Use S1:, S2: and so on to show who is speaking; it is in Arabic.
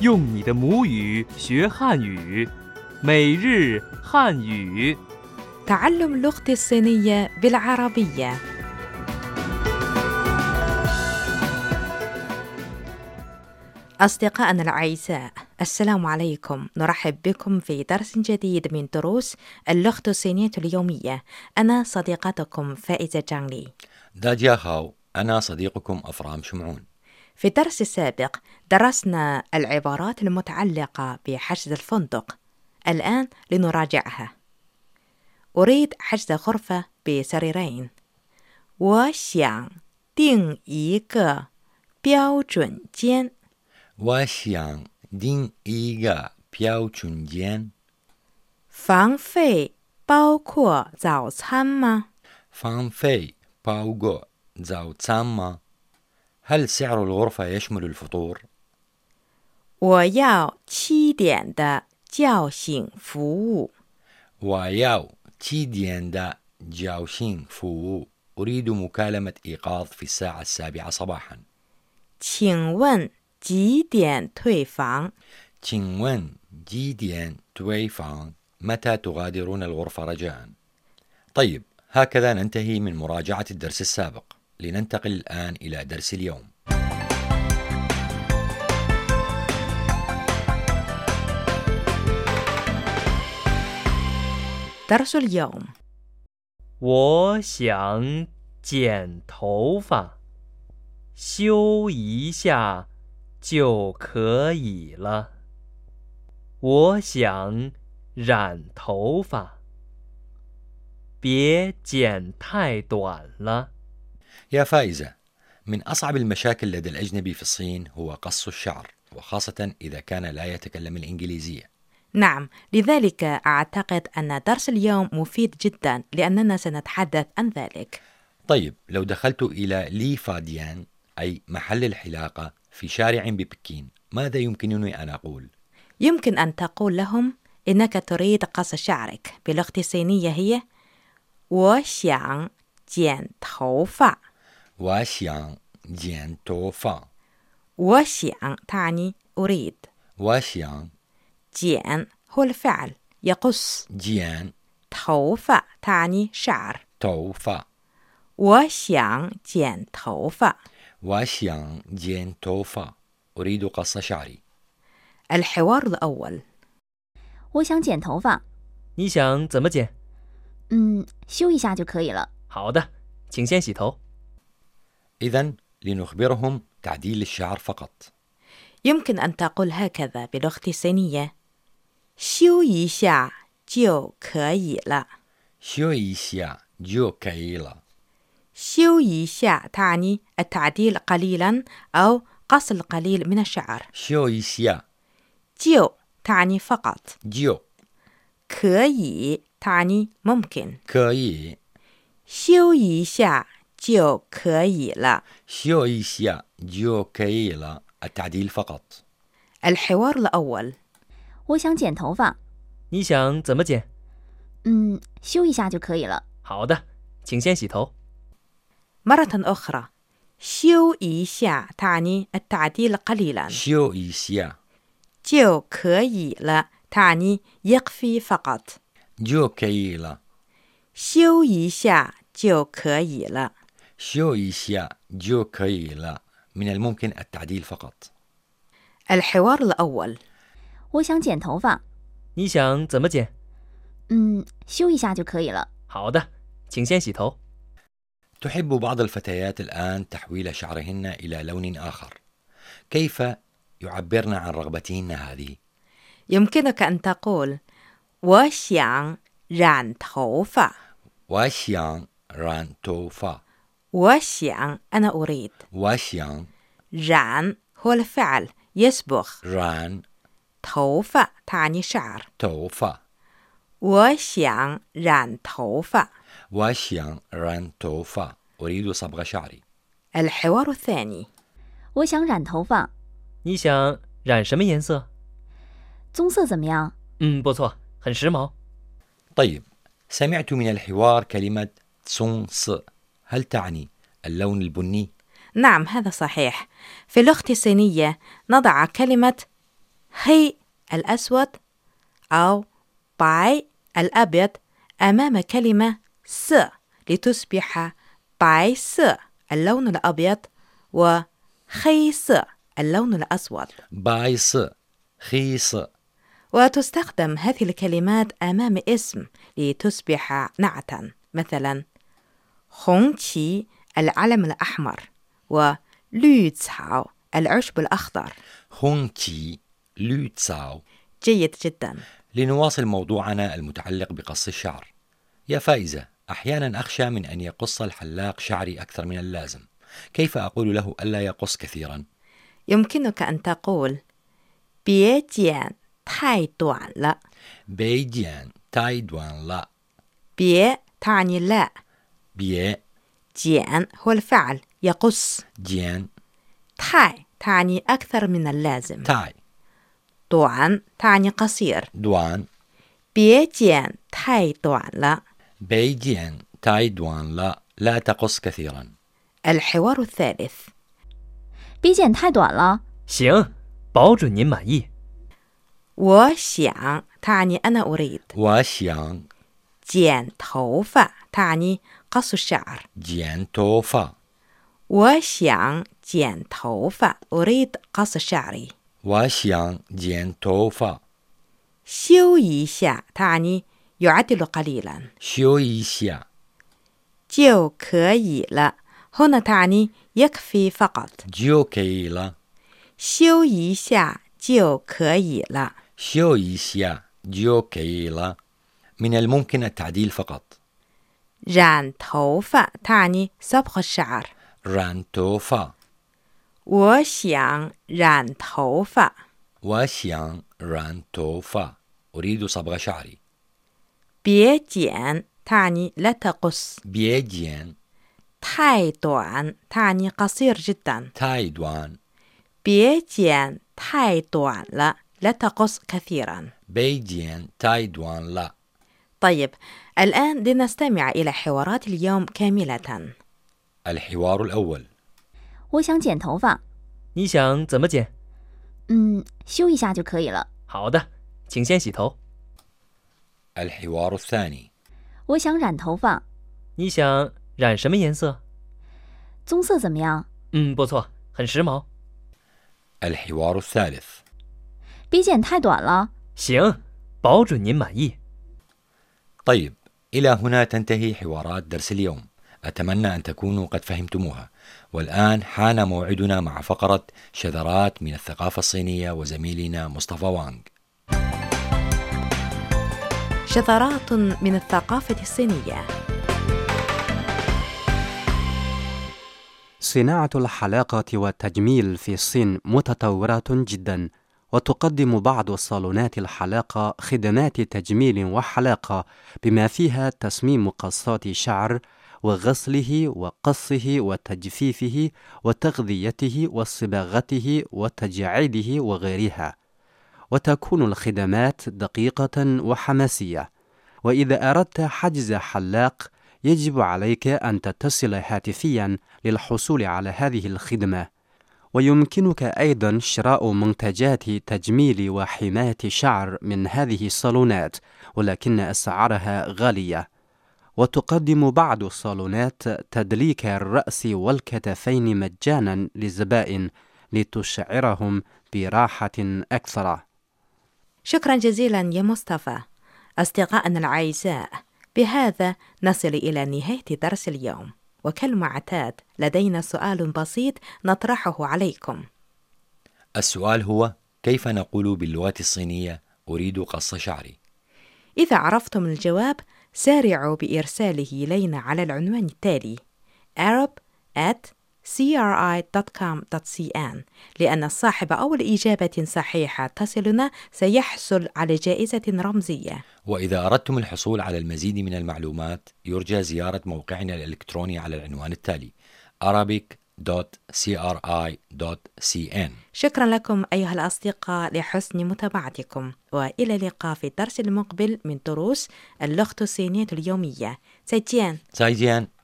S1: 用你的母语学汉语，每日汉语。
S2: تعلم لغتي الصينية بالعربية أصدقائنا الأعزاء السلام عليكم نرحب بكم في درس جديد من دروس اللغة الصينية اليومية أنا صديقتكم فائزة جانلي
S3: داجيا هاو أنا صديقكم أفرام شمعون
S2: في الدرس السابق درسنا العبارات المتعلقة بحجز الفندق الآن لنراجعها أريد حجز غرفة بسريرين 我想订一个标准间。
S3: واشيان دين إيغا بياو تشونجيان
S2: 房费包括早餐吗？
S3: فان في باوغو زاو تساما هل سعر الغرفة يشمل الفطور؟
S2: 我要七点的叫醒服务。
S3: وياو تي ديان دا جاوشين فو أريد مكالمة إيقاظ في الساعة السابعة صباحا
S2: 请问几点退房？
S3: تشين وين جي ديان توي فان متى تغادرون الغرفة رجاء؟ طيب هكذا ننتهي من مراجعة الدرس السابق لننتقل الآن إلى درس اليوم
S2: درس اليوم
S1: 我想剪头发，修一下就可以了。我想染头发，别剪太短了。
S3: يا فائزة من أصعب المشاكل لدى الأجنبي في الصين هو قص الشعر وخاصة إذا كان لا يتكلم الإنجليزية
S2: نعم لذلك أعتقد أن درس اليوم مفيد جدا لأننا سنتحدث عن ذلك
S3: طيب لو دخلت إلى لي فاديان أي محل الحلاقة في شارع ببكين ماذا يمكنني أن أقول؟
S2: يمكن أن تقول لهم إنك تريد قص شعرك بلغة الصينية هي 我想剪头发
S3: واشيان جيان توفا
S2: 我想 تعني أريد
S3: واشيان
S2: 剪 هو الفعل يقص
S3: جيان
S2: 头发 تعني شعر
S3: توفا
S2: 我想剪头发
S3: واشيان جيان توفا أريد قص شعري
S2: الحوار الأول
S4: 我想剪头发，
S1: 你想怎么剪？
S4: 嗯，修一下就可以了。
S1: 好的，请先洗头。
S3: إذا لنخبرهم تعديل الشعر فقط
S2: يمكن أن تقول هكذا بلغة الصينية 修一下就可以了
S3: شويشيا جو كايلا
S2: 修一下 تعني التعديل قليلا أو قص القليل من الشعر
S3: شويشيا
S2: 就 تعني فقط
S3: جيو
S2: 可以 تعني ممكن
S3: كاي
S2: 修一下就可以了
S3: شويشيا جيو كايلا التعديل فقط
S2: الحوار الأول
S4: 我想剪头发，
S1: 你想怎么剪？
S4: 嗯，修一下就可以了。
S1: 好的，请先洗头。
S2: مرة أخرى 修一下 تعني التعديل قليلا
S3: شويشيا
S2: 就可以了 تعني يكفي فقط
S3: جو كايلا
S2: 修一下就可以了
S3: شويشيا جو كايلا من الممكن التعديل فقط
S2: الحوار الأول
S4: 我想剪头发，
S1: 你想怎么剪？
S4: 嗯，修一下就可以了。
S1: 好的，请先洗头。
S3: تحب بعض الفتيات الآن تحويل شعرهن إلى لون آخر كيف يعبرن عن رغبتهن هذه؟
S2: يمكنك أن تقول 我想染头发
S3: واشيان ران توفا
S2: 我想 أنا أريد
S3: واشيان
S2: 染 هو الفعل يصبغ
S3: ران
S2: 头发 تعني شعر
S3: توفا
S2: 我想染头发
S3: واشيان ران توفا أريد صبغ شعري
S2: الحوار الثاني
S4: 我想染头发，
S1: 你想染什么颜色？
S4: 棕色怎么样？
S1: 嗯，不错，很时髦。
S3: طيب سمعت من الحوار كلمة تسون س هل تعني اللون البني؟
S2: نعم هذا صحيح في اللغة الصينية نضع كلمة هي الأسود أو باي الأبيض أمام كلمة س لتصبح باي س اللون الأبيض وخي س اللون الأسود
S3: بايص خيص
S2: وتستخدم هذه الكلمات أمام اسم لتصبح نعتا مثلا خونتي العلم الأحمر و لوتساو العشب الأخضر
S3: هونكي لو تساو
S2: جيد جدا
S3: لنواصل موضوعنا المتعلق بقص الشعر يا فائزة أحيانا أخشى من أن يقص الحلاق شعري أكثر من اللازم كيف أقول له ألا يقص كثيرا؟
S2: يمكنك أن تقول بيتيان تاي دوان لا
S3: بيديان تايدوان لا
S2: بيه تعني لا
S3: بيه
S2: جيان هو الفعل يقص
S3: ديان
S2: تاي تعني أكثر من اللازم
S3: تاي
S2: دوان تعني قصير
S3: دوان
S2: 别剪太短了
S3: بيديان تايدوان لا لا تقص كثيرا
S2: الحوار الثالث
S4: 别剪太短了，
S1: 行，保准您满意。
S2: 我想 تعني أنا أريد
S3: واشيان
S2: 剪头发 تعني قص الشعر
S3: جيان توفا
S2: 我想剪头发 أريد قص شعري
S3: واشيان جيان توفا
S2: 修一下 تعني يعدل قليلا
S3: شو يشيا
S2: 就可以了 هنا تعني يكفي فقط
S3: جيو كيلا
S2: 修一下就可以了
S3: شو يشيا جيو كيلا من الممكن التعديل فقط
S2: 染头发 تعني صبغ الشعر
S3: ران توفا
S2: 我想染头发，
S3: واشيان ران توفا أريد صبغ شعري
S2: 别剪 تعني لا تقص
S3: بيديان
S2: 太短 تعني قصير جدا
S3: تايدوان
S2: 别剪太短了 لا تقص كثيرا
S3: بيديان تايدوان لا
S2: طيب الآن لنستمع إلى حوارات اليوم كاملة
S3: الحوار الأول
S4: 我想剪头发，
S1: 你想怎么剪？
S4: 嗯，修一下就可以了。
S1: 好的，请先洗头。
S3: الحوار الثاني
S4: 我想染头发，
S1: 你想染什么颜色？
S4: 棕色怎么样？
S1: 嗯，不错，很时髦。
S3: الحوار الثالث
S4: 别剪太短了，
S1: 行，保准您满意。
S3: طيب إلى هنا تنتهي حوارات درس اليوم أتمنى أن تكونوا قد فهمتموها والآن حان موعدنا مع فقرة شذرات من الثقافة الصينية وزميلنا مصطفى وانغ
S2: شذرات من الثقافة الصينية
S5: صناعة الحلاقة والتجميل في الصين متطورة جدا وتقدم بعض صالونات الحلاقة خدمات تجميل وحلاقة بما فيها تصميم قصات شعر وغسله وقصه وتجفيفه وتغذيته وصباغته وتجعيده وغيرها وتكون الخدمات دقيقة وحماسية وإذا أردت حجز حلاق يجب عليك أن تتصل هاتفيا للحصول على هذه الخدمة ويمكنك أيضا شراء منتجات تجميل وحماية شعر من هذه الصالونات ولكن أسعارها غالية وتقدم بعض الصالونات تدليك الرأس والكتفين مجانا للزبائن لتشعرهم براحة أكثر
S2: شكرا جزيلا يا مصطفى أصدقائنا الأعزاء بهذا نصل إلى نهاية درس اليوم وكالمعتاد لدينا سؤال بسيط نطرحه عليكم
S3: السؤال هو كيف نقول باللغة الصينية أريد قص شعري
S2: إذا عرفتم الجواب سارعوا بإرساله إلينا على العنوان التالي arab at cri.com.cn لأن صاحب أول إجابة صحيحة تصلنا سيحصل على جائزة رمزية
S3: وإذا أردتم الحصول على المزيد من المعلومات يرجى زيارة موقعنا الإلكتروني على العنوان التالي arabic.cri.cn
S2: شكرا لكم أيها الأصدقاء لحسن متابعتكم وإلى اللقاء في الدرس المقبل من دروس اللغة الصينية اليومية سيتيان
S3: زايديان